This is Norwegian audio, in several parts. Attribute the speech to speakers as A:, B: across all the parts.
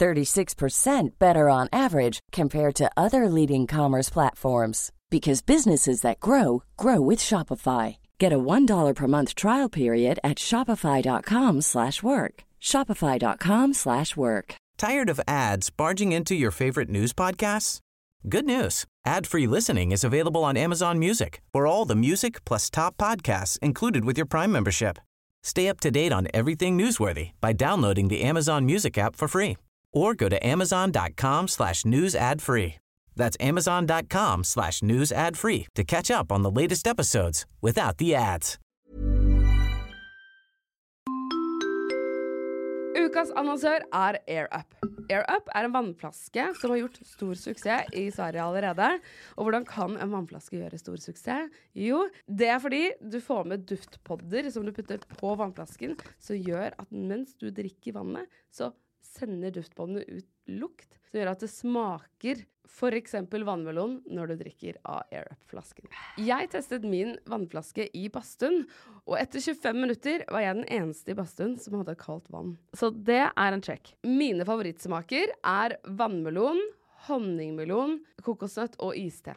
A: 36% better on average compared to other leading commerce platforms because businesses that grow grow with Shopify. Get a $1 per month trial period at shopify.com/work. shopify.com/work.
B: Tired of ads barging into your favorite news podcasts? Good news. Ad-free listening is available on Amazon Music. For all the music plus top podcasts included with your Prime membership. Stay up to date on everything newsworthy by downloading the Amazon Music app for free or go to amazon.com slash news ad free. That's amazon.com slash news ad free to catch up on the latest episodes without the ads.
C: Ukas annonsør er AirUp. AirUp er en vannflaske som har gjort stor suksess i Sverige allerede. Og hvordan kan en vannflaske gjøre stor suksess? Jo, det er fordi du får med duftpodder som du putter på vannflasken, som gjør at mens du drikker vannet, så sender duftbåndene ut lukt som gjør at det smaker f.eks. vannmelon når du drikker av AirUp-flasken. Jeg testet min vannflaske i badstuen, og etter 25 minutter var jeg den eneste i badstuen som hadde kaldt vann. Så det er en check. Mine favorittsmaker er vannmelon, honningmelon, kokosnøtt og iste.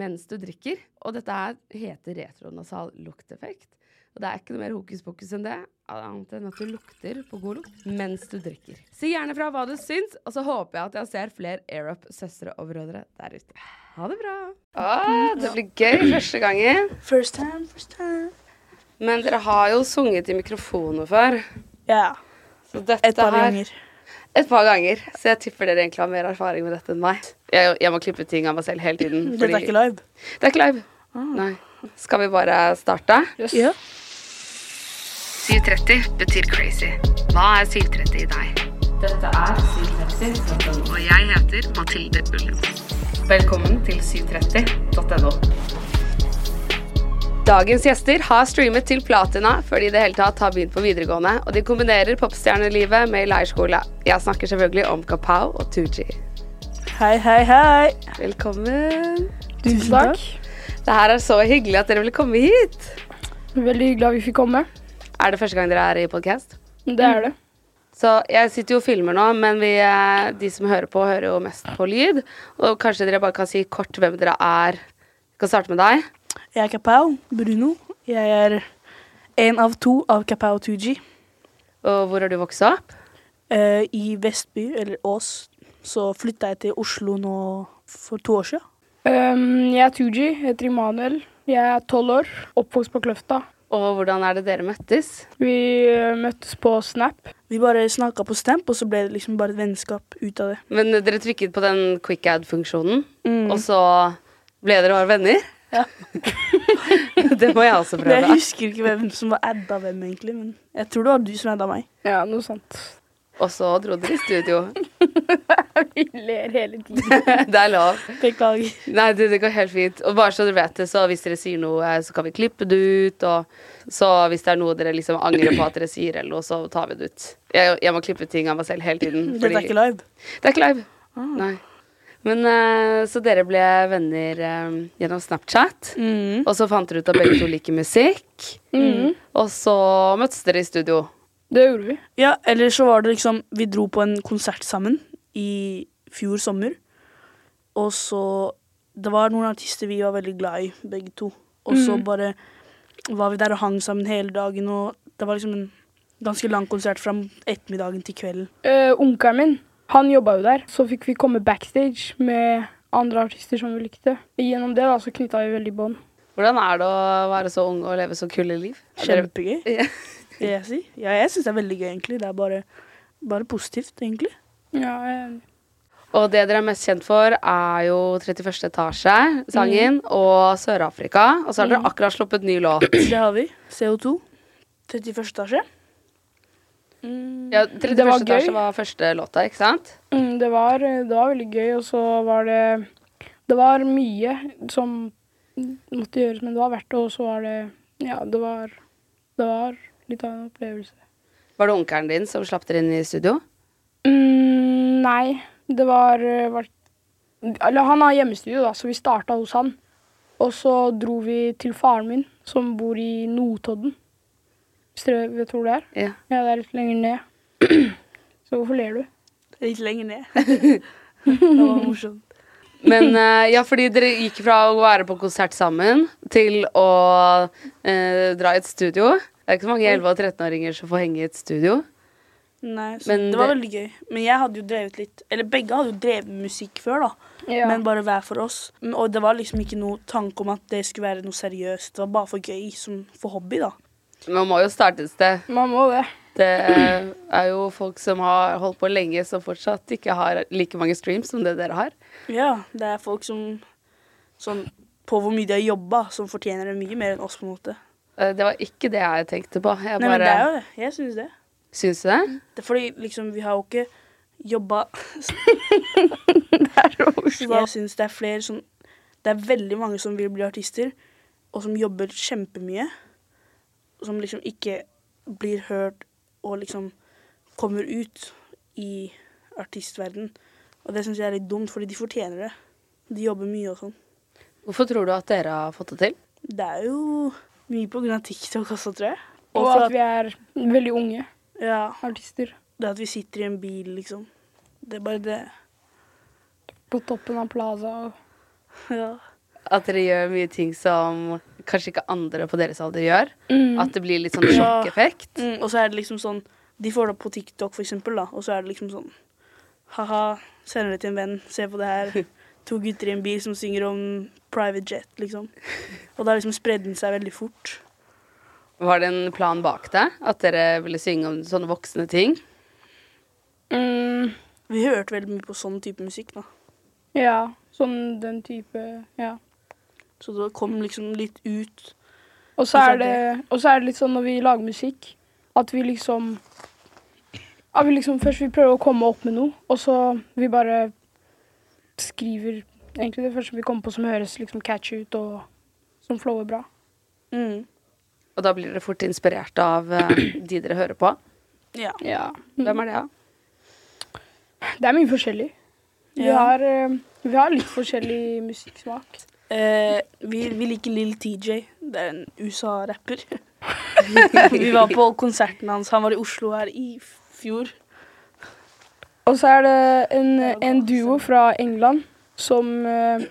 C: mens du drikker. Og dette er, heter retronasal lukteffekt. Og det er ikke noe mer hokus pokus enn det, annet enn at du lukter på god lukt mens du drikker. Si gjerne fra hva du syns, og så håper jeg at jeg ser flere AirUp-søstre og brødre der ute. Ha det bra. det blir gøy første gangen.
D: First time, first time.
C: Men dere har jo sunget i mikrofoner før.
D: Ja.
C: Så dette
D: Et par
C: her-
D: ganger.
C: Et par ganger. Så jeg tipper dere egentlig har mer erfaring med dette enn meg. Jeg, jeg må klippe ting av meg selv hele tiden.
D: Dette er
C: fordi-
D: ikke live.
C: Det er ikke live. Nei. Skal vi bare starte?
D: Ja.
C: 730 betyr crazy. Hva er 730 i deg? Dette er 730.no. Og jeg heter Mathilde Ullen. Velkommen til 730.no. Dagens gjester har streamet til platina før de i det hele tatt har begynt på videregående, og de kombinerer popstjernelivet med leirskole. Jeg snakker selvfølgelig om Kapow og Tooji.
D: Hei, hei, hei.
C: Velkommen.
E: Tusen takk.
C: Det her er så hyggelig at dere ville komme hit.
E: Veldig hyggelig at vi fikk komme.
C: Er det første gang dere er i podkast?
E: Det er det.
C: Så jeg sitter jo og filmer nå, men vi, eh, de som hører på, hører jo mest på lyd. Og kanskje dere bare kan si kort hvem dere er. Vi kan starte med deg.
D: Jeg er Kapow Bruno. Jeg er én av to av Kapow 2G
C: Og hvor har du vokst opp?
D: eh, i Vestby, eller Ås. Så flytta jeg til Oslo nå for to år siden.
E: Øhm, Um, jeg er Tooji, heter Immanuel. Jeg er tolv år, oppvokst på Kløfta.
C: Og hvordan er det dere møttes?
E: Vi øh, møttes på Snap.
D: Vi bare snakka på stamp, og så ble det liksom bare et vennskap ut av det.
C: Men dere trykket på den quick ad-funksjonen, og så ble dere bare venner?
D: Ja.
C: det må jeg også
D: Jeg
C: prøve.
D: husker ikke hvem som var adda hvem, egentlig, men jeg tror det var du som adda meg.
E: Ja, noe sånt.
C: Og så dro dere i studio.
E: vi ler hele tiden.
C: Det er lov.
D: Beklager.
C: Nei, det, det går helt fint. Og bare så dere vet det, så hvis dere sier noe, eh, så kan vi klippe det ut. Og så hvis det er noe dere liksom angrer på at dere sier, eller noe, så tar vi det ut. Jeg, jeg må klippe ting av meg selv hele tiden.
D: Dette er ikke Ah. live.
C: Det er ikke live. Nei. Men eh, så dere ble venner eh, gjennom Snapchat.
D: Mm.
C: Og så fant dere ut at begge to liker musikk.
E: Mhm,
C: Og så møttes dere i studio.
E: Det gjorde vi.
D: Ja, eller så var det liksom Vi dro på en konsert sammen i fjor sommer. Og så Det var noen artister vi var veldig glad i, begge to. Og så bare var vi der og hang sammen hele dagen, og det var liksom en ganske lang konsert fra
E: Eh,
D: ettermiddagen til kvelden.
E: Øh, Onkelen min, han jobba jo der. Så fikk vi komme backstage med andre artister som vi likte. Gjennom det da, så knytta vi veldig bånd.
C: Hvordan er det å være så ung og leve så kule liv? Er dere-
D: Kjempegøy,
C: Ja.
D: vil jeg si. Ja, jeg syns det er veldig gøy, egentlig. Det er bare, bare positivt, egentlig.
E: Ja, jeg-
C: Og det dere er mest kjent for, er jo 31. etasje, sangen,
E: Mm.
C: og Sør-Afrika. Og så har dere akkurat sluppet ny låt.
D: Det har vi. CO2. 31. etasje.
C: Ja, 31.
E: Det var gøy.
C: etasje var første låta, ikke sant?
E: Mm, Det var, det var veldig gøy, og så var det Det var mye som måtte gjøres, men det var verdt det, og så var det Ja, det var, det var litt av en opplevelse.
C: Var det onkelen din som slapp dere inn i studio?
E: Mm, nei, det var, eh, var Eller han har hjemmestudio, da, så vi starta hos han. Og så dro vi til faren min, som bor i Notodden. Hvis dere vet hvor det er?
C: Ja.
E: Ja, det er litt lenger ned. Så hvorfor ler du?
D: Litt lenger ned. det var morsomt.
C: Men eh, ja, fordi dere gikk fra å være på konsert sammen til å eh, dra i et studio. Det er ikke så mange 11- og 13-åringer som får henge i et studio.
D: Nei, så
C: Men
D: det var
C: det-
D: veldig gøy. Men jeg hadde jo drevet litt Eller begge hadde jo drevet med musikk før, da.
E: Ja.
D: Men bare hver for oss. Men- Og det var liksom ikke noe tanke om at det skulle være noe seriøst. Det var bare for gøy, som for hobby, da.
C: Man må jo starte et sted.
E: Man må det.
C: Det er jo folk som har holdt på lenge, som fortsatt ikke har like mange streams som det dere har.
D: Ja, det er folk som Sånn på hvor mye de har jobba, som fortjener det mye mer enn oss, på en måte.
C: Eh, Det var ikke det jeg tenkte på. Jeg
D: Nei, men det
C: bare
D: er jo det. Jeg syns det.
C: Syns du det?
D: Det er fordi liksom, vi har jo ikke jobba Jeg syns det er flere som Det er veldig mange som vil bli artister, og som jobber kjempemye. og Som liksom ikke blir hørt og liksom kommer ut i artistverden. Og det syns jeg er litt dumt, fordi de fortjener det. De jobber mye og sånn.
C: Hvorfor tror du at dere har fått det til?
D: Det er jo mye på grunn av TikTok også, tror jeg.
E: Og
D: for
E: at vi er veldig unge
D: ja,
E: artister.
D: det at vi sitter i en bil, liksom. Det er bare det.
E: På toppen av Plaza og
D: Ja.
C: At dere gjør mye ting som kanskje ikke andre på deres alder gjør? At det blir litt sånn
D: Mm. Ja.
C: sjokkeffekt?
D: Mm, og så er det liksom sånn De får det opp på TikTok, for eksempel, da, og så er det liksom sånn Ha-ha, sender det til en venn, se på det her. To gutter i en bil som synger om private jet, liksom. Og da liksom spredde den seg veldig fort.
C: Var det en plan bak det? At dere ville synge om sånne voksne ting?
E: mm,
D: Vi hørte veldig mye på sånn type musikk, da.
E: Ja, sånn den type Ja.
D: Så det kom liksom litt ut.
E: Og så er det, og så er det litt sånn når vi lager musikk, at vi liksom at vi liksom Først vi prøver å komme opp med noe, og så vi bare skriver egentlig det første vi kommer på som høres liksom catchy ut, og som flower bra.
D: Mm.
C: Og da blir dere fort inspirert av eh, de dere hører på.
D: Ja.
E: Ja.
C: Hvem er det, da?
E: Mm. Det er mye forskjellig. Vi,
D: Ja.
E: har, eh, vi har litt forskjellig musikksmak.
D: Eh, vi, vi liker Lill TJ. Det er en USA-rapper. vi var på konserten hans. Han var i Oslo her i fjor.
E: Og så er det en, en duo fra England som eh,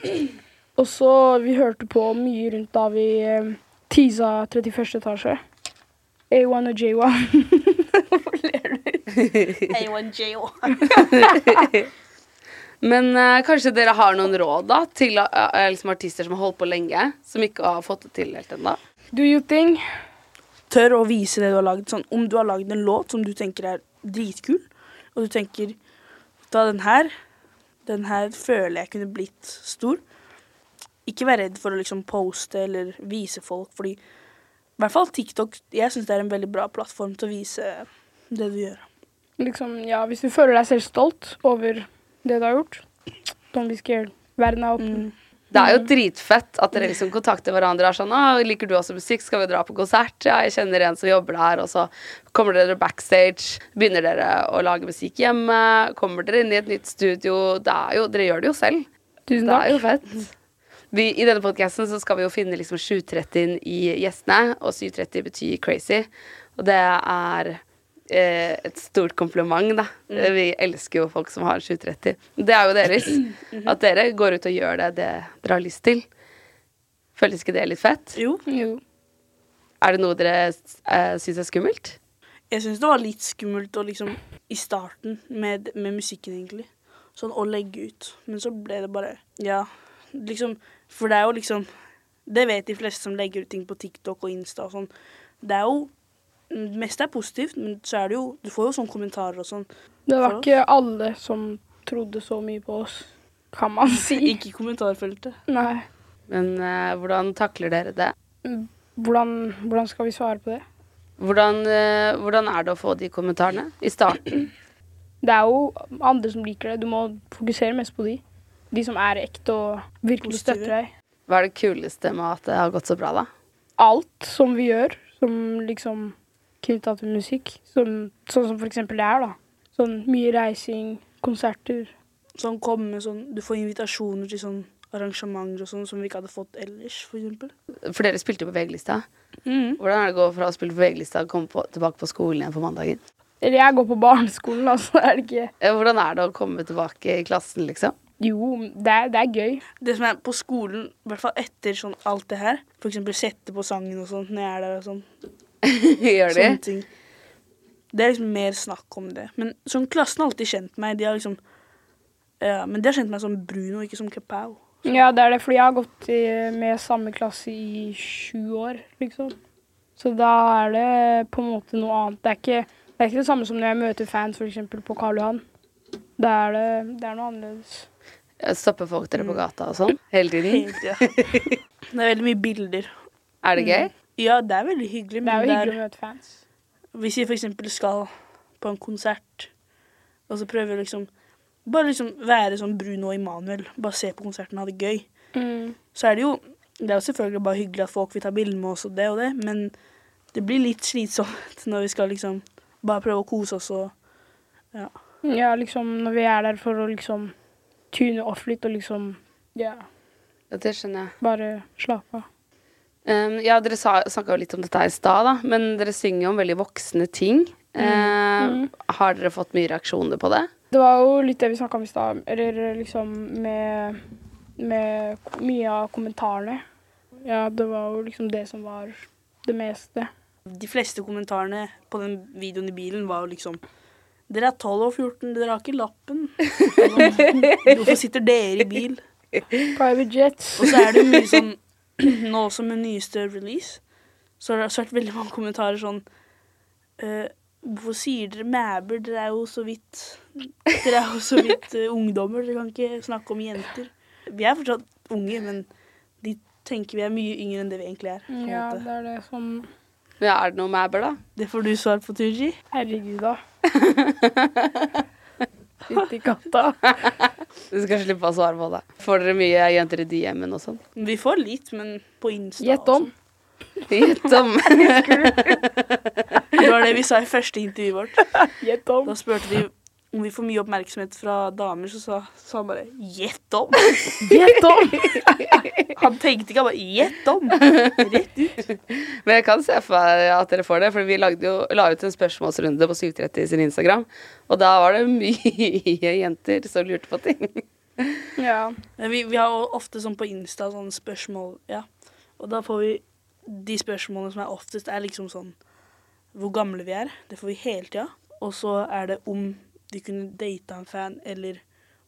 E: også vi hørte på mye rundt da vi eh, teasa 31. etasje. A1 og J1.
D: A1JO.
C: Men eh, kanskje dere har noen råd da til eh, liksom artister som har holdt på lenge, som ikke har fått det til helt ennå?
E: Do you think?
D: tør å vise det du har lagd. Sånn, om du har lagd en låt som du tenker er dritkul, og du tenker ta den her, den her føler jeg kunne blitt stor. Ikke vær redd for å liksom poste eller vise folk, fordi i hvert fall TikTok jeg synes det er en veldig bra plattform til å vise det du gjør.
E: Liksom, ja, hvis du føler deg selv stolt over det du har gjort, don't be scared. Verden er åpen.
C: Det er jo dritfett at dere liksom kontakter hverandre og er sånn «Å, 'Liker du også musikk? Skal vi dra på konsert?' 'Ja, jeg kjenner en som jobber der.' Og så kommer dere backstage, begynner dere å lage musikk hjemme, kommer dere inn i et nytt studio. Det er jo, dere gjør det jo selv.
E: Tusen
C: Det er jo
E: takk.
C: fett. Vi, I denne podcasten så skal vi jo finne liksom 730 i gjestene, og 730 betyr crazy. Og det er eh, et stort kompliment, da.
E: Mm.
C: Vi elsker jo folk som har 730. Det er jo deres.
E: Mm-hmm.
C: At dere går ut og gjør det, det dere har lyst til. Føles ikke det litt fett?
D: Jo,
E: Jo.
C: Er det noe dere eh, syns er skummelt?
D: jeg synes det var litt skummelt å liksom i starten med, med musikken egentlig. sånn å legge ut. Men så ble det bare Ja. Liksom For det er jo liksom Det vet de fleste som legger ut ting på TikTok og Insta og sånn. Det er jo Det meste er positivt, men så er det jo Du får jo sånne kommentarer og sånn.
E: Det var
D: For oss?
E: ikke alle som trodde så mye på oss, kan man si.
D: Ikke i kommentarfeltet.
E: Nei.
C: Men eh, hvordan takler dere det?
E: Hvordan, hvordan skal vi svare på det?
C: Hvordan, eh, hvordan er det å få de kommentarene i starten?
E: Det er jo andre som liker det. Du må fokusere mest på de. De som er ekte og virkelig
D: Positive.
E: støtter deg.
C: Hva er det kuleste med at det har gått så bra, da?
E: Alt som vi gjør, som liksom knytta til musikk. Som, sånn som for eksempel det her, da. Sånn mye reising, konserter.
D: Sånn komme sånn Du får invitasjoner til sånn arrangementer og sånn som vi ikke hadde fått ellers, for eksempel.
C: For dere spilte på VG-lista. Hvordan er det å gå fra å spille på VG-lista og komme på, tilbake på skolen igjen på mandagen?
E: Eller jeg går på barneskolen, altså. Er det ikke
C: Eh, Hvordan er det å komme tilbake i klassen, liksom?
E: Jo, det er, det er gøy.
D: Det som er på skolen, i hvert fall etter sånn alt det her, for eksempel sette på sangen og sånt når jeg er der og sånn,
C: Gjør de?
D: sånne ting. Det er liksom mer snakk om det. Men sånn klassen har alltid kjent meg. De har liksom ja, Men de har kjent meg som Bruno, ikke som Kapow.
E: Ja, det er det, fordi jeg har gått i, med samme klasse i sju år, liksom. Så da er det på en måte noe annet. Det er ikke det, er ikke det samme som når jeg møter fans for eksempel, på Karl Johan. Da er det, det er noe annerledes.
C: Stopper Sånn, eh, folk dere på gata og sånn hele tiden?
D: Helt, ja. Det er veldig mye bilder.
C: Er det gøy?
D: Ja, det er veldig hyggelig,
E: Mm, Det er
D: men
E: jo
D: det er,
E: hyggelig å møte fans.
D: hvis vi for eksempel skal på en konsert, og så prøver vi liksom Bare liksom være sånn Bruno og Emanuel. Bare se på konserten og ha det gøy. så er det jo Det er jo selvfølgelig bare hyggelig at folk vil ta bilde med oss og det og det, men det blir litt slitsomt når vi skal liksom bare prøve å kose oss og Ja.
E: Ja, liksom når vi er der for å liksom tune off litt og liksom ja,
C: Ja, Det skjønner jeg.
E: bare slappe av.
C: Um, ja, dere snakka jo litt om dette her i stad, da, men dere synger jo om veldig voksne ting. Eh, Har dere fått mye reaksjoner på det?
E: Det var jo litt det vi snakka om i stad, eller liksom med, med k- mye av kommentarene. Ja, det var jo liksom det som var det meste.
D: De fleste kommentarene på den videoen i bilen var jo liksom Dere er 12 og 14, dere har ikke lappen. Hvorfor sitter dere i bil?
E: Private Jets.
D: Og så er det jo mye sånn Nå som med nyeste release, så har det også vært veldig mange kommentarer sånn eh, Hvorfor sier dere mæber? Dere er jo så vidt Dere er jo så vidt eh, ungdommer. Dere kan ikke snakke om jenter. Vi er fortsatt unge, men de tenker vi er mye yngre enn det vi egentlig er. på en
E: Mm, Ja,
D: måte.
E: det er det som
C: Ja, er det noe med Abel, da?
D: Det får du svar på, Tooji.
E: Herregud, da. Fytti katta.
C: Du skal slippe å svare på det. Får dere mye jenter i DM-en og sånn?
D: Vi får litt, men på Insta.
E: Gjett om.
D: og sånn.
C: Gjett om.
D: Det var det vi sa i første intervjuet vårt.
E: Gjett om.
D: Da spurte de om vi får mye oppmerksomhet fra damer, så sa, sa han bare 'gjett om'.
E: Gjett om!
D: Han tenkte ikke, han bare gjett om. Rett ut.
C: Men jeg kan se for meg at dere får det, for vi lagde jo, la ut en spørsmålsrunde på 730 sin Instagram, og da var det mye jenter som lurte på ting.
E: Ja.
D: Ja, Vi, vi har jo ofte sånn på Insta sånne spørsmål, ja. Og da får vi De spørsmålene som er oftest, er liksom sånn Hvor gamle vi er. Det får vi hele tida. Og så er det om de kunne data en fan, eller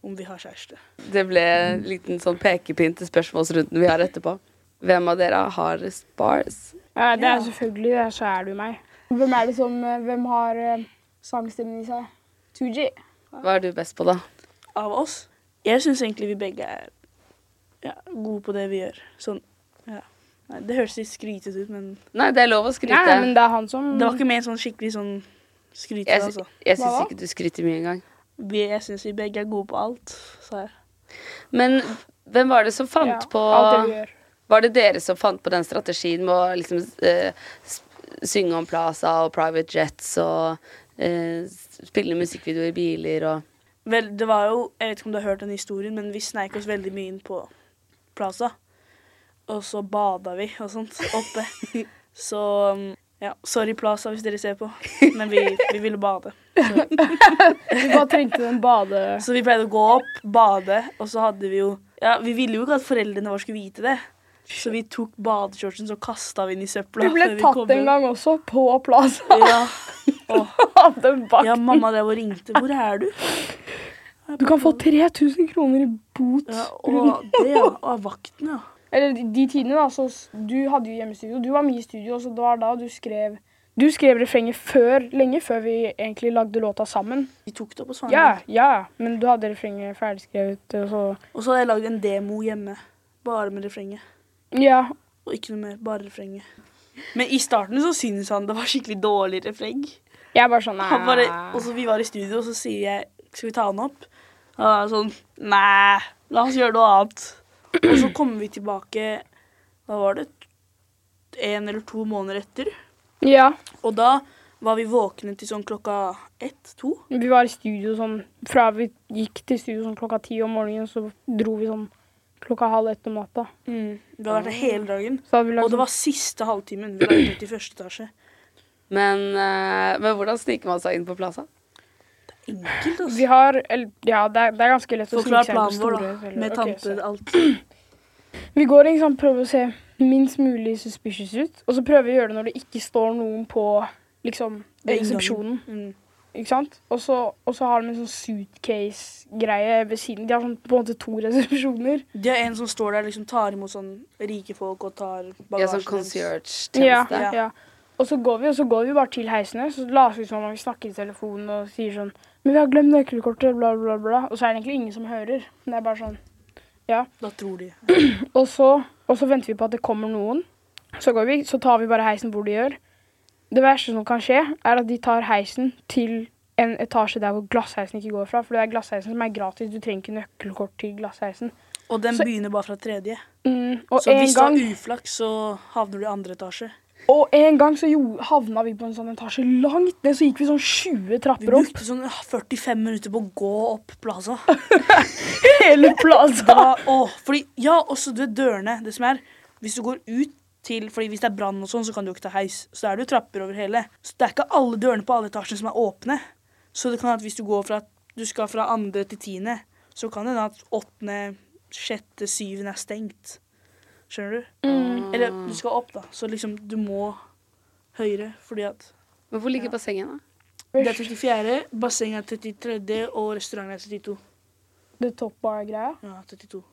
D: om vi har kjæreste.
C: Det ble en liten sånn pekepinn til spørsmålsrunden vi har etterpå. Hvem av dere har spars?
E: ja det
D: Ja.
E: er selvfølgelig det, så er det jo meg. Hvem er det som eh, Hvem har eh, sangstemmen i seg? 2G.
C: Hva er du best på, da?
D: Av oss. Jeg syns egentlig vi begge er ja, gode på det vi gjør. Sånn ja. Nei, det høres litt skrytete ut, men
C: Nei, det er lov å skryte.
E: Nei, men det er han som
D: det var ikke mer sånn skikkelig sånn skrytete,
C: Jeg,
D: altså.
C: sy- jeg syns
E: Hva da?
C: ikke du skryter mye engang.
D: Vi, jeg syns vi begge er gode på alt, sa jeg.
C: Men hvem var det som fant
E: ja,
C: på
E: alt det vi gjør.
C: Var det dere som fant på den strategien med å liksom eh, s- synge om Plaza og Private Jets og eh, s- spille musikkvideoer i biler og
D: Vel, det var jo, jeg vet ikke om du har hørt den historien, men vi sneik oss veldig mye inn på Plaza. Og så bada vi og sånt oppe. Så um, ja, sorry Plaza hvis dere ser på, men vi, vi ville bade.
E: Vi bare trengte den bade...
D: Så vi pleide å gå opp, bade, og så hadde vi jo Ja, vi ville jo ikke at foreldrene våre skulle vite det. Så vi tok badeshortsen så kasta vi den i søpla.
E: Vi ble
D: før kom
E: tatt en
D: hjem.
E: gang også, på plaza
D: Ja. Åh,
E: av den bak.
D: ja, mamma drev og ringte. 'Hvor er du?'
E: Du kan få 3000 kroner i bot.
D: Ja, og det, ja. Og vakten, ja.
E: Eller de- de tidene, da. Så s- du hadde jo hjemmestudio. Du var mye i studio, så det var da du skrev Du skrev refrenget før, lenge før vi egentlig lagde låta sammen.
D: Vi tok det på Svanevik.
E: Ja, ja, men du hadde refrenget ferdigskrevet, og så
D: Og så hadde jeg lagd en demo hjemme. Bare med refrenget.
E: Ja.
D: Og ikke noe mer. Bare refrenget. Men i starten så syntes han det var skikkelig dårlig refreng.
E: Jeg er bare sånn
D: Han bare,
E: "Nei."
D: og så Vi var i studio, og så sier jeg Skal vi ta den opp? Og han er sånn Nei, la oss gjøre noe annet. Og så kommer vi tilbake Hva var det? En eller to måneder etter.
E: Ja.
D: Og da var vi våkne til sånn klokka ett-to.
E: Vi var i studio sånn Fra vi gikk til studio sånn klokka ti om morgenen, så dro vi sånn klokka halv ett om natta.
D: Vi hadde vært der hele dagen.
E: Så hadde vi lagd
D: Og det var siste halvtimen. Vi var ute i første etasje.
C: Men, eh, men hvordan sniker man seg inn på Plaza?
D: Enkelt, altså.
E: Vi har eller, Ja, det er, det er ganske lett å
D: Forklar
E: snike seg inn på
D: planen vår,
E: store
D: da.
E: feller.
D: Med
E: Ok,
D: tante
E: så-
D: alt.
E: Vi går og liksom prøver å se minst mulig suspicious ut, og så prøver vi å gjøre det når det ikke står noen på liksom,
D: Ved
E: ved resepsjonen.
D: Mm.
E: Ikke sant? Og så, og så har de en sånn suitcase-greie ved siden. De har sånn, på en måte to resepsjoner.
D: Det er en som står der liksom tar imot sånn rike folk og tar
C: Ja, sånn
D: bagasjen deres.
E: Ja,
C: concierge-tjeneste.
E: ja. Og så går vi, og så går vi bare til heisene, så later vi som om vi snakker i telefonen og sier sånn Men vi har glemt nøkkelkortet, bla, bla, bla. Og så er det egentlig ingen som hører. Det er bare sånn
D: Da tror de
E: Og så, og så venter vi på at det kommer noen. Så går vi, så tar vi bare heisen hvor de gjør. Det verste som kan skje, er at de tar heisen til en etasje der hvor glassheisen ikke går fra. For det er glassheisen som er gratis. Du trenger ikke nøkkelkort til glassheisen.
D: Og den
E: Så-
D: begynner bare fra tredje.
E: Mm, og,
D: Så
E: en
D: hvis du har
E: gang,
D: uflaks, så havner du i andre etasje.
E: og en gang så jo, havna vi på en sånn etasje langt ned, så gikk vi sånn 20
D: Vi
E: trapper opp.
D: brukte sånn 45 minutter på å gå opp plaza.
E: Hele
D: Det
E: plassen.
D: var, åh, fordi, ja, også du vet dørene. Det som er, hvis du går ut til fordi Hvis det er brann og sånn, så kan du jo ikke ta heis. Så da er det jo trapper over hele. Så det er ikke alle dørene på alle etasjene som er åpne. Så det kan hende at hvis du går fra du skal fra andre til tiende, så kan det hende at åttende, sjette, syvende er stengt. Skjønner du? Eller du skal opp, da. Så liksom du må høyere. Fordi at
C: Men hvor ligger bassenget, da?
D: det er 34., bassenget er 33., og restauranten er 32.
E: Det topp bar-greia.
D: Ja, 32.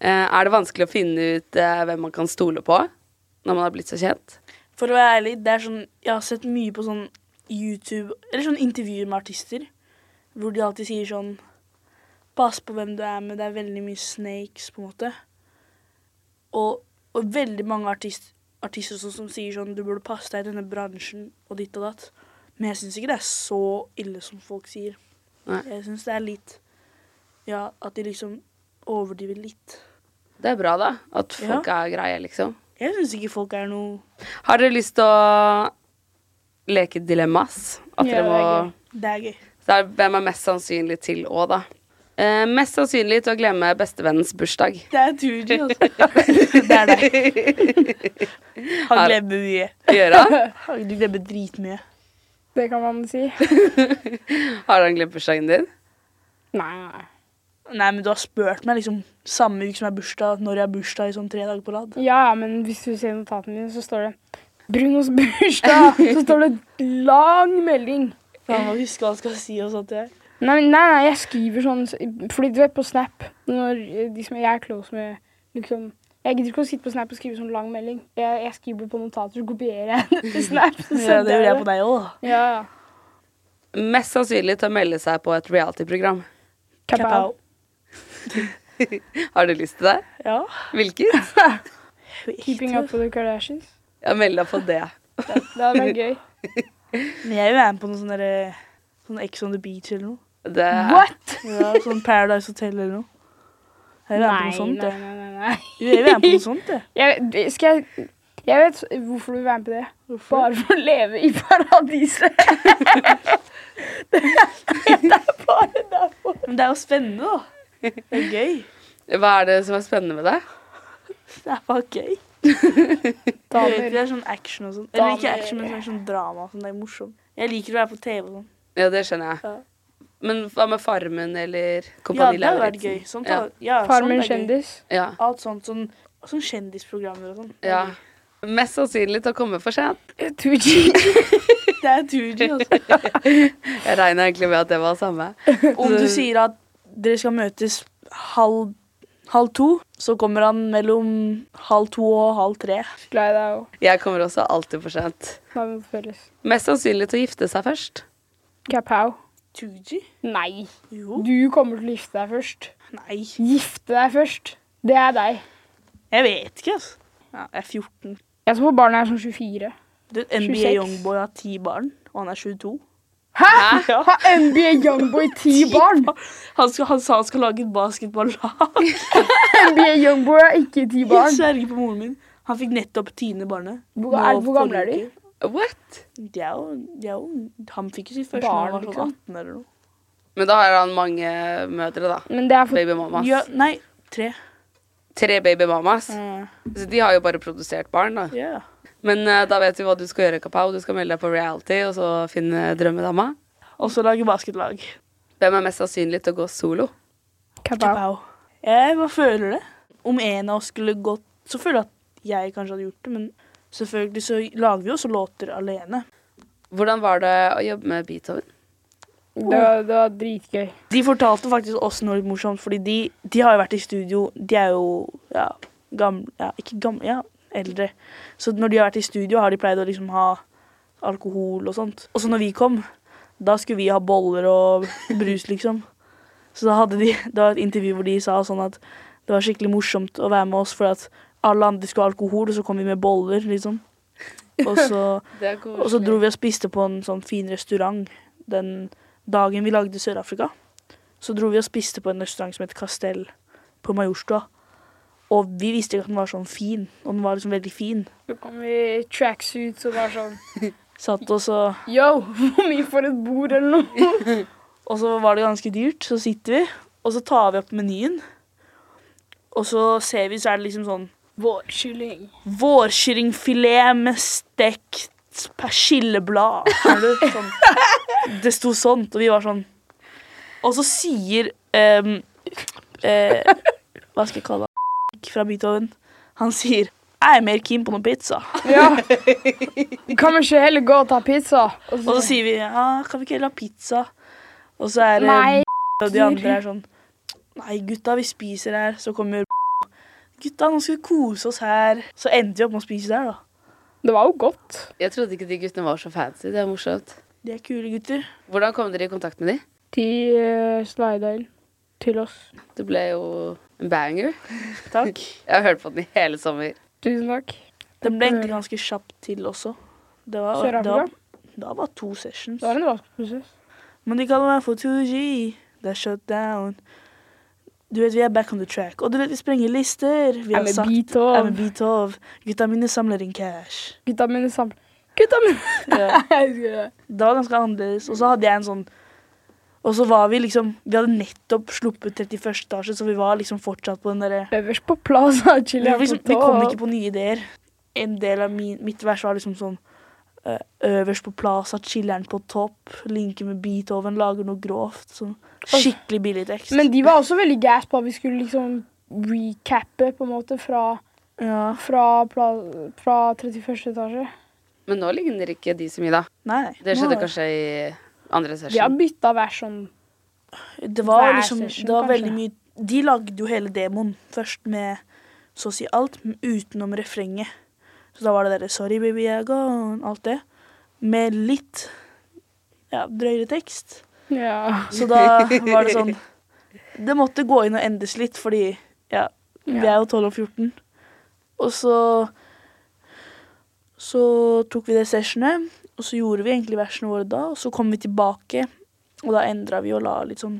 C: Eh, er det vanskelig å finne ut eh, hvem man kan stole på når man har blitt så kjent?
D: For å være ærlig, det er sånn Jeg har sett mye på sånn YouTube Eller sånn intervjuer med artister hvor de alltid sier sånn Pass på hvem du er med, det er veldig mye snakes, på en måte. Og, og veldig mange artist, artister også, som sier sånn Du burde passe deg i denne bransjen, og ditt og datt. Men jeg syns ikke det er så ille som folk sier.
C: Nei.
D: Jeg syns det er litt Ja, at de liksom overdriver litt.
C: Det er bra, da. At folk er greie, liksom.
D: Jeg syns ikke folk er noe
C: Har dere lyst til å leke dilemmas? At
E: Ja,
C: dere
E: det er
C: må
E: gøy.
D: Det er gøy.
C: Så er hvem er mest sannsynlig til òg, da? Eh, mest sannsynlig til å glemme bestevennens bursdag.
D: Det er Tooji, altså. det er det. Han glemmer mye.
C: Gjøre?
D: Han- Du glemmer dritmye.
E: Det kan man si.
C: Har han glemt bursdagen din?
E: Nei.
D: Nei, men du har spurt meg liksom samme uke som er bursdag, når jeg har bursdag i sånn tre dager på rad.
E: Ja, ja, men hvis du ser notatene mine, så står det Brunos bursdag! Så står det lang melding.
D: For han må huske hva han skal si og sånt. til deg.
E: Nei, men- nei, nei, jeg skriver sånn s- Fordi du vet på Snap Når eh, de som jeg er close med liksom, Jeg gidder ikke å sitte på Snap og skrive sånn lang melding. Jeg, jeg skriver på notater, så kopierer jeg det til Snap.
D: Ja,
E: Så
D: det
E: sender
D: gjorde jeg på deg òg.
E: Ja, ja.
C: Mest sannsynlig til å melde seg på et reality-program.
E: Cap out.
C: Har du lyst til det?
D: Ja.
C: Hvilket?
E: Keeping up with the Kardashians.
C: Jeg melder deg på det.
E: Det hadde vært gøy.
D: Men jeg vil være med på noe sånn derre Sånn Ex on the Beach eller noe.
C: det
E: What?!
D: Ja, sånn Paradise Hotel eller noe. Jeg vil være med på noe
E: nei,
D: sånt,
E: nei,
D: jeg.
E: nei, nei, nei.
D: Jo, Jeg vil være med på noe sånt, jeg.
E: Jeg, skal jeg Jeg vet hvorfor du vil være med på det. Bare for å leve i paradiset.
D: Men det er jo spennende, da. Det er gøy.
C: Hva er det som er spennende med det?
D: Det er bare gøy. Jeg vet, Det
E: Damer.
D: er sånn action og sånn. Eller ikke
E: Damer.
D: action, men sånn- sånn drama. og Sånn, det er morsomt. Jeg liker å være på TV og sånn.
C: Ja, det skjønner jeg.
D: Ja.
C: Men hva med Farmen eller
D: Ja,
C: Kompani
D: det hadde vært
C: Lauritsen?
D: gøy.
C: sånn,
D: Sånt,
C: Ja.
D: hadde- ja,
E: Farmen
D: sånt er gøy.
E: kjendis.
C: Ja.
D: Alt sånt. Sånn, sånn kjendisprogrammer og sånn.
C: ja. Mest sannsynlig til å komme for sent.
D: Det er Tooji, altså.
C: Jeg regner egentlig med at det var samme.
D: Om du sier at dere skal møtes halv, halv to. Så kommer han mellom halv to og halv tre.
E: Glad i deg og
C: Jeg kommer også alltid for sent.
E: Nei, vi må felles.
C: Mest sannsynlig til å gifte seg først.
E: Kapow.
D: Tooji?
E: Nei.
D: Jo.
E: Du kommer til å gifte deg først.
D: Nei.
E: Gifte deg først. Det er deg.
D: Jeg vet ikke, altså. Ja, jeg er 14.
E: Jeg som får barn, er sånn 24.
D: Du, NBA
E: 26.
D: Youngboy har ti barn, og han er 22.
E: Hæ?! Har NBA Youngboy ti barn?
D: Han, skal, han sa han skal lage et basketballag.
E: NBA Youngboy er ikke ti
D: Jeg
E: barn.
D: sverger på moren min. Han fikk nettopp tiende barnet.
E: Hvor-
D: Nå
E: er- hvor gamle
D: forrige
E: er de?
D: uke.
C: What?
D: De er jo, de er jo, han fikk jo sitt første barn, han
E: Barn,
D: var sånn
E: liksom.
D: 18 eller noe.
C: Men da har han mange mødre, da.
E: Men det er for
C: Babymammas.
D: Ja, nei, tre.
C: Tre babymammas.
D: Eh,
C: Så de har jo bare produsert barn, da.
D: Ja.
C: Men eh, da vet vi hva du skal gjøre, Kapow. Du skal melde deg på reality og så finne drømmedama.
D: Og så lage basketlag.
C: Hvem er mest sannsynlig til å gå solo?
E: Kapow.
D: Kapow. Jeg bare føler det. Om en av oss skulle gått, så føler jeg at jeg kanskje hadde gjort det, men selvfølgelig så lager vi jo også låter alene.
C: Hvordan var det å jobbe med Beethoven?
E: Det var, det var dritgøy.
D: De fortalte faktisk oss noe litt morsomt, fordi de, de har jo vært i studio De er jo ja, gamle Ja, ikke gamle, ja, eldre. Så når de har vært i studio, har de pleid å liksom ha alkohol og sånt. Og så når vi kom, da skulle vi ha boller og brus, liksom. Så da hadde de Det var et intervju hvor de sa sånn at det var skikkelig morsomt å være med oss, for at alle andre skulle ha alkohol, og så kom vi med boller, liksom. Og så
C: Det er
D: og så dro vi og spiste på en sånn fin restaurant den dagen vi lagde Sør-Afrika. Så dro vi og spiste på en restaurant som het Castell på Majorstua. Og vi visste ikke at den var sånn fin, og den var liksom veldig fin.
E: Så kom vi i tracksuits og var sånn
D: Satt og så
E: Yo, hvor mye for et bord eller noe?
D: Og så var det ganske dyrt. Så sitter vi, og så tar vi opp menyen. Og så ser vi, så er det liksom sånn
E: Vårkylling.
D: Vårkyllingfilet med stekt persilleblad. skjønner du? Sånn. Det sto sånt, og vi var sånn Og så sier ehm, eh, Hva skal jeg kalle han fra Beethoven? Han sier 'Jeg er mer keen på noe pizza'.
E: Ja. Kan vi ikke heller gå og ta pizza?
D: Og så sier vi ja, 'Kan vi ikke heller ha pizza?' Og så er det
E: Nei.
D: og de andre er sånn 'Nei, gutta, vi spiser her.' Så kommer 'Gutta, nå skal vi kose oss her.' Så endte vi opp med å spise der, da.
E: Det var jo godt.
C: Jeg trodde ikke de guttene var så fancy. Det er morsomt.
D: De er kule gutter.
C: Hvordan kom dere i kontakt med de?
E: De uh, slida inn til oss.
C: Det ble jo en banger.
D: Takk.
C: Jeg har hørt på den i hele sommer.
E: Tusen takk.
D: Den ble egentlig ganske kjapt til også. Det var, det
E: Sør-Afrika?
D: var, det var to sessions.
E: Det var en rask prosess.
D: Men de kaller meg for 2G. Det er shut down. Du vet, vi er back on the track. Og du vet, vi sprenger lister. Vi
E: Jeg
D: har
E: med
D: sagt
E: beat og
D: I'm a beat of. Gutta mine samler inn cash.
E: Gutta mine sammen. Gutta mine!
D: Ja.
E: Jeg husker det.
D: Det var ganske annerledes. Og så hadde jeg en sånn Og så var vi liksom Vi hadde nettopp sluppet 31. etasje, så vi var liksom fortsatt på den derre
E: Øverst på plaza. Chili
D: Vi, var
E: er på
D: liksom, vi kom ikke
E: topp.
D: på nye ideer. En del av min, mitt vers var liksom sånn eh, Øverst på plaza, chiller'n på topp, linker med Beethoven, lager noe grovt. Sånn skikkelig billig tekst.
E: Men de var også veldig gass på at vi skulle liksom recappe på en måte fra,
D: ja.
E: fra, pla- fra 31. etasje.
C: Men nå ligner ikke de så mye, da.
D: Nei, nei.
C: Det skjedde
D: Nå-
C: kanskje i andre
E: Vi har
C: session.
E: bytta hver sånn
D: Det var
E: hver
D: liksom
E: session,
D: Det var
E: kanskje.
D: veldig mye De lagde jo hele demoen først med så å si alt, men utenom refrenget. Så da var det derre 'Sorry, baby, I gone', alt det. Med litt ja, drøyere tekst.
E: Ja.
D: Så da var det sånn Det måtte gå inn og endes litt, fordi ja, vi er jo 12 og 14. Og så Så tok vi det sessionet, og så gjorde vi egentlig versene våre da. Og så kom vi tilbake, og da endra vi og la litt sånn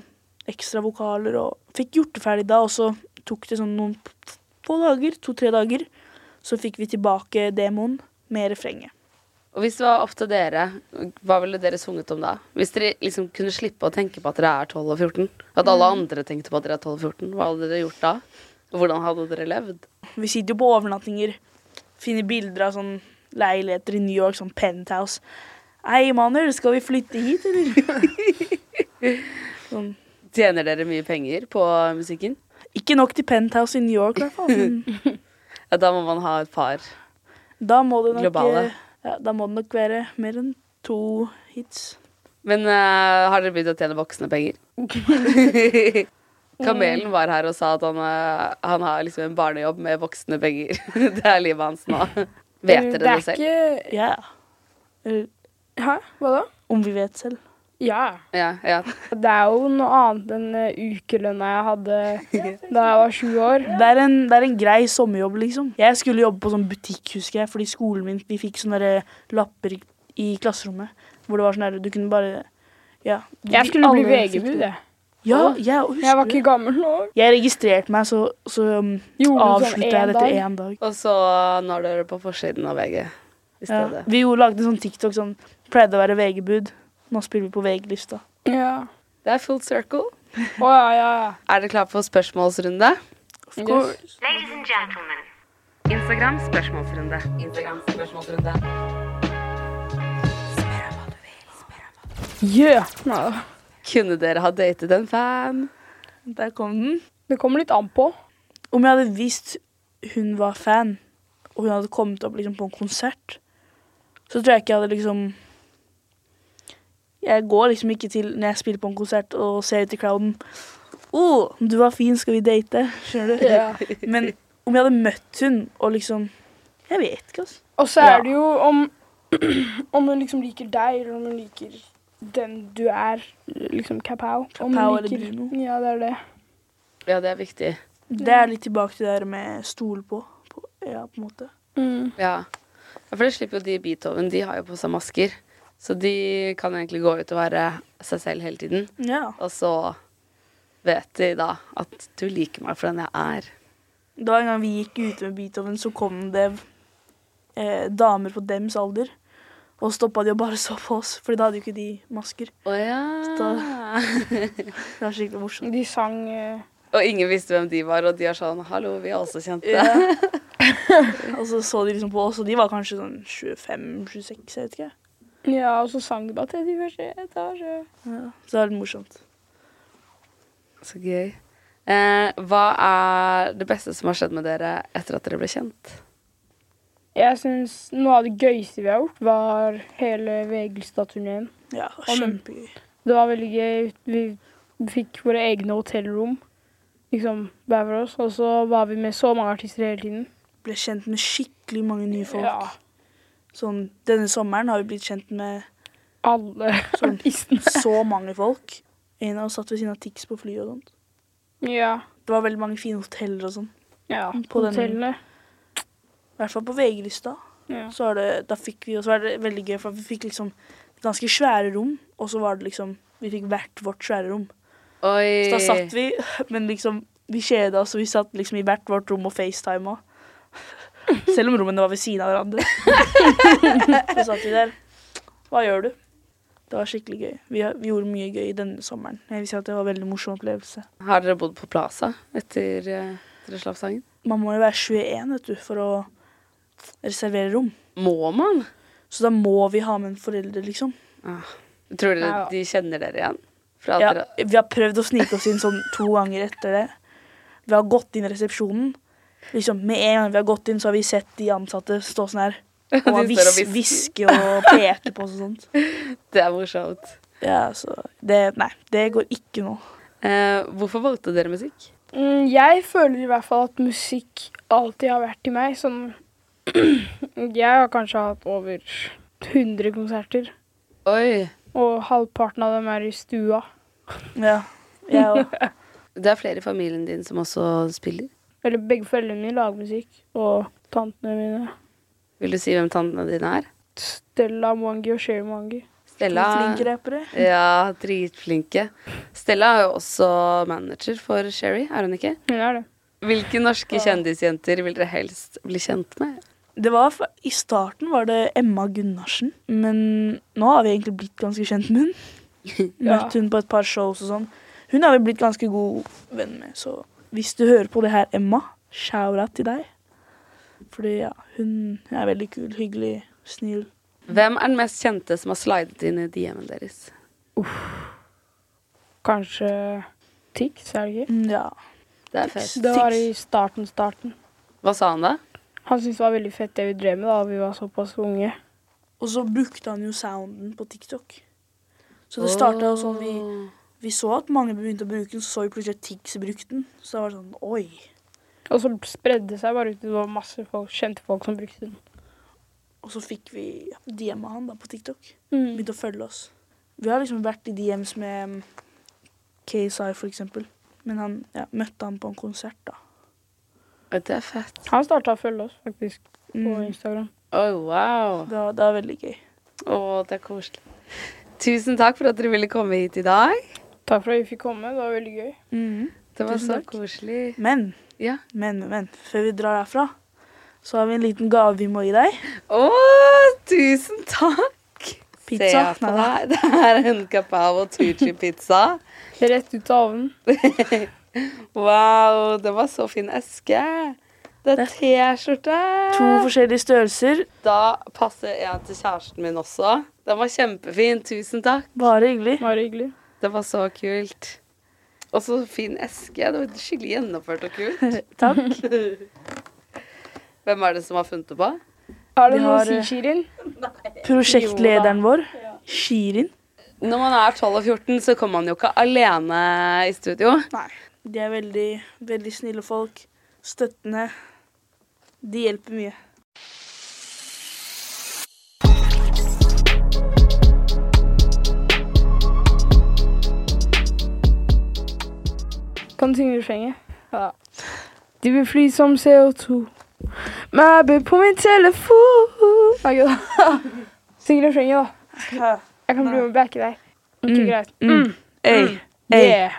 D: ekstra vokaler og Fikk gjort det ferdig da, og så tok det sånn noen få dager, to-tre dager. Så fikk vi tilbake demoen med refrenget.
C: Og hvis det var opp til dere, hva ville dere sunget om da? Hvis dere liksom kunne slippe å tenke på at dere er 12 og 14? At alle andre tenkte på at dere er 12 og 14? Hva hadde dere gjort da? Og Hvordan hadde dere levd?
D: Vi sitter jo på overnattinger, finner bilder av sånn leiligheter i New York, sånn penthouse. Hei, Manuel, skal vi flytte hit, eller? sånn.
C: Tjener dere mye penger på musikken?
D: Ikke nok til penthouse i New York, i hvert fall. men
C: Ja, da må man ha et par.
D: Da må det nok,
C: Globale.
D: ja, da må det nok være mer enn to hits.
C: Men eh, har dere begynt å tjene voksne penger? Kamelen var her og sa at han, eh, han har liksom en barnejobb med voksne penger. det er livet hans nå. Vet dere det selv?
E: ikke
D: Ja. Eller
E: Hæ? Hva da?
D: om vi vet selv.
E: Ja.
C: Ja, ja.
E: Det er jo noe annet enn eh, ukelønna jeg hadde da jeg var sju år.
D: Det er, en, det er en grei sommerjobb, liksom. Jeg skulle jobbe på sånn butikk, husker jeg, fordi skolen min Vi fikk sånne der lapper i klasserommet hvor det var sånn der Du kunne bare Ja. Du-
E: Jeg skulle bli
D: alle fikk
E: VG-bud,
D: det.
E: jeg.
D: Ja, jeg husker
E: Jeg var
D: det.
E: ikke gammel nok.
D: Jeg registrerte meg, så, så um,
E: Gjorde du sånn
D: avslutta jeg
E: en
D: det etter
E: dag?
D: én dag.
C: Og så når dere på forsiden av VG i
D: Ja.
C: stedet.
D: Vi jo lagde sånn TikTok sånn Pleide å være VG-bud. Nå spiller vi på VG-lista.
E: Ja.
C: Det er full circle.
E: Å ja, ja, ja.
C: Er dere klare for spørsmålsrunde?
E: Yes.
F: Ladies and gentlemen,
C: Instagram spørsmålsrunde. Instagram spørsmålsrunde.
E: Yeah. Nei, da.
C: Kunne dere ha datet en fan?
D: Der kom den.
E: det kommer litt an på.
D: Om jeg hadde visst hun var fan, og hun hadde kommet opp liksom, på en konsert, så tror jeg ikke jeg hadde liksom Jeg går liksom ikke til når jeg spiller på en konsert og ser ut i crowden oh, 'Du var fin, skal vi date?' Skjønner du?
E: Uh. Ja.
D: Men om jeg hadde møtt hun og liksom Jeg vet ikke, altså.
E: Og så er
D: Ja.
E: det jo om, om hun liksom liker deg, eller om hun liker den du er. Liksom kapow. Om hun
D: Kapow eller
E: liker-
D: Bruno.
E: Ja, det er det.
C: Ja, det er viktig.
D: Det er litt tilbake til det der med stole på. på ja, på en måte.
E: Mm.
C: Ja. Ja, For det slipper jo de i Beethoven. De har jo på seg masker. Så de kan egentlig gå ut og være seg selv hele tiden.
D: Ja.
C: Og så vet de da at du liker meg for den jeg er.
D: Det var en gang vi gikk ute med Beethoven, så kom det eh, damer på dems alder. Og stoppa de og bare så på oss, for da hadde jo ikke de masker.
C: Å ja. Ah.
D: Det var skikkelig morsomt.
E: De sang eh,
C: Og ingen visste hvem de var, og de er sånn Hallo, vi er også kjente.
D: Og så så de liksom på oss, og de var kanskje sånn 25-26, jeg vet ikke.
E: Ja, og så sang de bare 31. etasje.
D: Så det var litt morsomt.
C: Så gøy. Eh, hva er det beste som har skjedd med dere etter at dere ble kjent?
E: Jeg syns noe av det gøyeste vi har gjort, var hele Vegelstad-turneen.
D: Ja, det var
E: Amen.
D: kjempegøy.
E: Det var veldig gøy. Vi fikk våre egne hotellrom, liksom hver for oss. Og så var vi med så mange artister hele tiden.
D: Ble kjent med skikkelig mange nye folk.
E: Ja,
D: Sånn, denne sommeren har vi blitt kjent med
E: alle
D: Sånn.
E: artistene.
D: så mange folk. En av oss satt ved siden av Tix på flyet og sånt.
E: Ja.
D: Det var veldig mange fine hoteller og sånn.
E: ja.
D: På
E: På
D: den-
E: hotellene.
D: I hvert fall på VG-lista.
E: Ja.
D: Så var det, da fikk vi, og så var det veldig gøy, for vi fikk liksom ganske svære rom, og så var det liksom, vi fikk hvert vårt svære rom.
C: Oi.
D: Så da satt vi, men liksom, vi kjeda oss, og vi satt liksom i hvert vårt rom og facetima. Selv om rommene var ved siden av hverandre. så satt vi der. Hva gjør du? Det var skikkelig gøy. Vi, vi gjorde mye gøy denne sommeren. Jeg vil si at det var en veldig morsom opplevelse.
C: Har dere bodd på Plaza etter eh, dere slapp sangen?
D: Man må jo være 21, vet du, for å reservere rom.
C: Må man?
D: Så da må vi ha med en forelder, liksom.
C: Ah. Tror dere
E: Ja.
C: de kjenner dere igjen? Fra at
D: Ja,
C: dere,
D: vi har prøvd å snike oss inn sånn to ganger etter det. Vi har gått inn i resepsjonen. Liksom, med en gang vi har gått inn, så har vi sett de ansatte stå sånn her. Og
C: De står og
D: vis
C: hvisker.
D: hviske og peke på oss og sånt.
C: det er morsomt.
D: Ja, så det, Nei, det går ikke nå.
C: Eh, hvorfor valgte dere musikk?
E: Mm, Jeg føler i hvert fall at musikk alltid har vært i meg. Sånn Jeg har kanskje hatt over 100 konserter,
C: Oi.
E: og halvparten av dem er i stua.
D: Ja, jeg og
C: Det er flere i familien din som også spiller.
E: Eller begge foreldrene mine lager musikk, og tantene mine.
C: Vil du si hvem tantene dine er?
E: Stella Mwangi og Sherry Mwangi.
C: Stella.
D: flinke rappere.
C: Ja, dritflinke. Stella er jo også manager for Sherry, er hun ikke?
E: Hun er det.
C: Hvilke norske kjendisjenter vil dere helst bli kjent med?
D: Det var, fa- I starten var det Emma Gunnarsen, men nå har vi egentlig blitt ganske kjent med hun.
E: Ja.
D: Møtt hun på et par shows og sånn. Hun har vi blitt ganske god venn med, så hvis du hører på det her, Emma, shout out til deg. Fordi ja, hun er veldig kul, hyggelig, snill.
C: Hvem er den mest kjente som har slidet inn i DM-en deres?
E: Kanskje Tix, er det ikke?
D: Mm, Ja.
C: Det er fett.
E: Det var
D: Tix.
E: i starten, starten.
C: Hva sa han da?
E: Han syntes det var veldig fett det vi drev med da vi var såpass unge.
D: Og så brukte han jo sounden på TikTok. Så det starta jo sånn vi vi så at mange begynte å bruke den, så så vi plutselig at Tix brukte den. Så det var sånn oi.
E: Og så spredde det seg bare ut. Det var masse folk, kjente folk som brukte den.
D: Og så fikk vi DM av han da på TikTok.
E: Mm.
D: Begynte å følge oss. Vi har liksom vært i DMs med mm, KSI for eksempel. Men han ja, møtte han på en konsert, da.
C: Det er fett.
E: Han starta å følge oss faktisk på
D: Mm.
E: Instagram.
C: Oh, wow.
D: Det var, det var veldig gøy.
C: Å, det er koselig. Tusen takk for at dere ville komme hit i dag.
E: Takk for at vi fikk komme. Det var veldig gøy.
C: Det var
D: Tusen
C: så
D: takk.
C: koselig.
D: Men,
C: Ja.
D: men, men. Før vi drar herfra, så har vi en liten gave vi må gi deg.
C: Å, tusen takk.
D: Pizza?
C: Ser jeg på
D: Neida.
C: deg. Det er en capao tucci-pizza.
E: Rett ut av ovnen.
C: Wow, det var så fin eske. Det er T-skjorte.
D: To forskjellige størrelser.
C: Da passer en til kjæresten min også. Den var kjempefin. Tusen takk.
D: Bare hyggelig.
E: Bare hyggelig.
C: Det var så kult. Og så fin eske. Det var skikkelig gjennomført og kult.
D: Takk.
C: Hvem er det som har funnet det på?
E: Er det
D: Vi
E: noe
D: har,
E: å si,
D: eh,
E: Shirin?
D: Prosjektlederen vår, Shirin.
C: Når man er 12 og 14, så kommer man jo ikke alene i studio.
D: De er veldig, veldig snille folk. Støttende. De hjelper mye.
E: Kan du synge refrenget? Ja. De vil fly som CO2. Mæbe på min telefon. Nei, gud. Syng refrenget, da. Jeg kan bli med og backe deg. Ok,
D: Mm.
E: greit.
D: Mm. Ey, ey.
E: Yeah.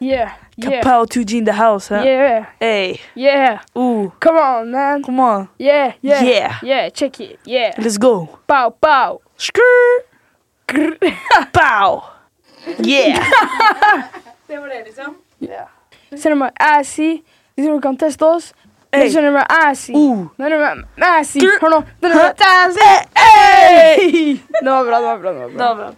E: Yeah. Yeah.
D: Kapow to in the house, huh?
E: Yeah.
D: Ey.
E: Yeah.
D: Ooh,
E: Come on, man.
D: come on.
E: Yeah. Yeah.
D: Yeah.
E: Yeah. Check it. Yeah.
D: Let's go.
E: Bow, bow.
D: Skrr.
E: Grr.
D: Pow. Yeah.
E: Send them assy. De tror du kan teste oss.
D: Ey.
E: De sender meg assy.
D: Ooh.
E: Nei, nei, nei, assy.
D: Grr.
E: Hør nå. Den er assy.
D: Ey.
E: Det var bra, det var bra. Det var bra.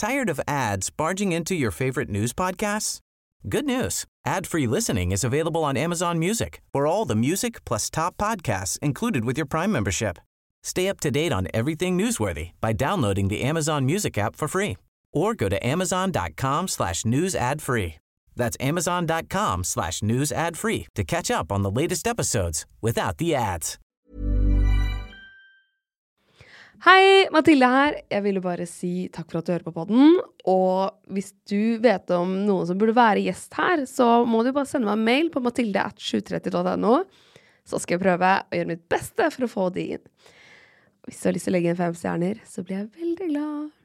B: Tired of ads barging into your favorite news podcasts? Good news. Ad-free listening is available on Amazon Music for all the music plus top podcasts included with your Prime membership. Stay up to date on everything newsworthy by downloading the Amazon Music app for free or go to amazon.com slash news ad free. That's amazon.com slash news ad free to catch up on the latest episodes without the ads.
C: Hei, Mathilde her. Jeg ville bare si takk for at du hører på podden. Og hvis du vet om noen som burde være gjest her, så må du bare sende meg en mail på mathilde at 730.no. Så skal jeg prøve å gjøre mitt beste for å få de inn. Hvis du har lyst til å legge inn fem stjerner, så blir jeg veldig glad.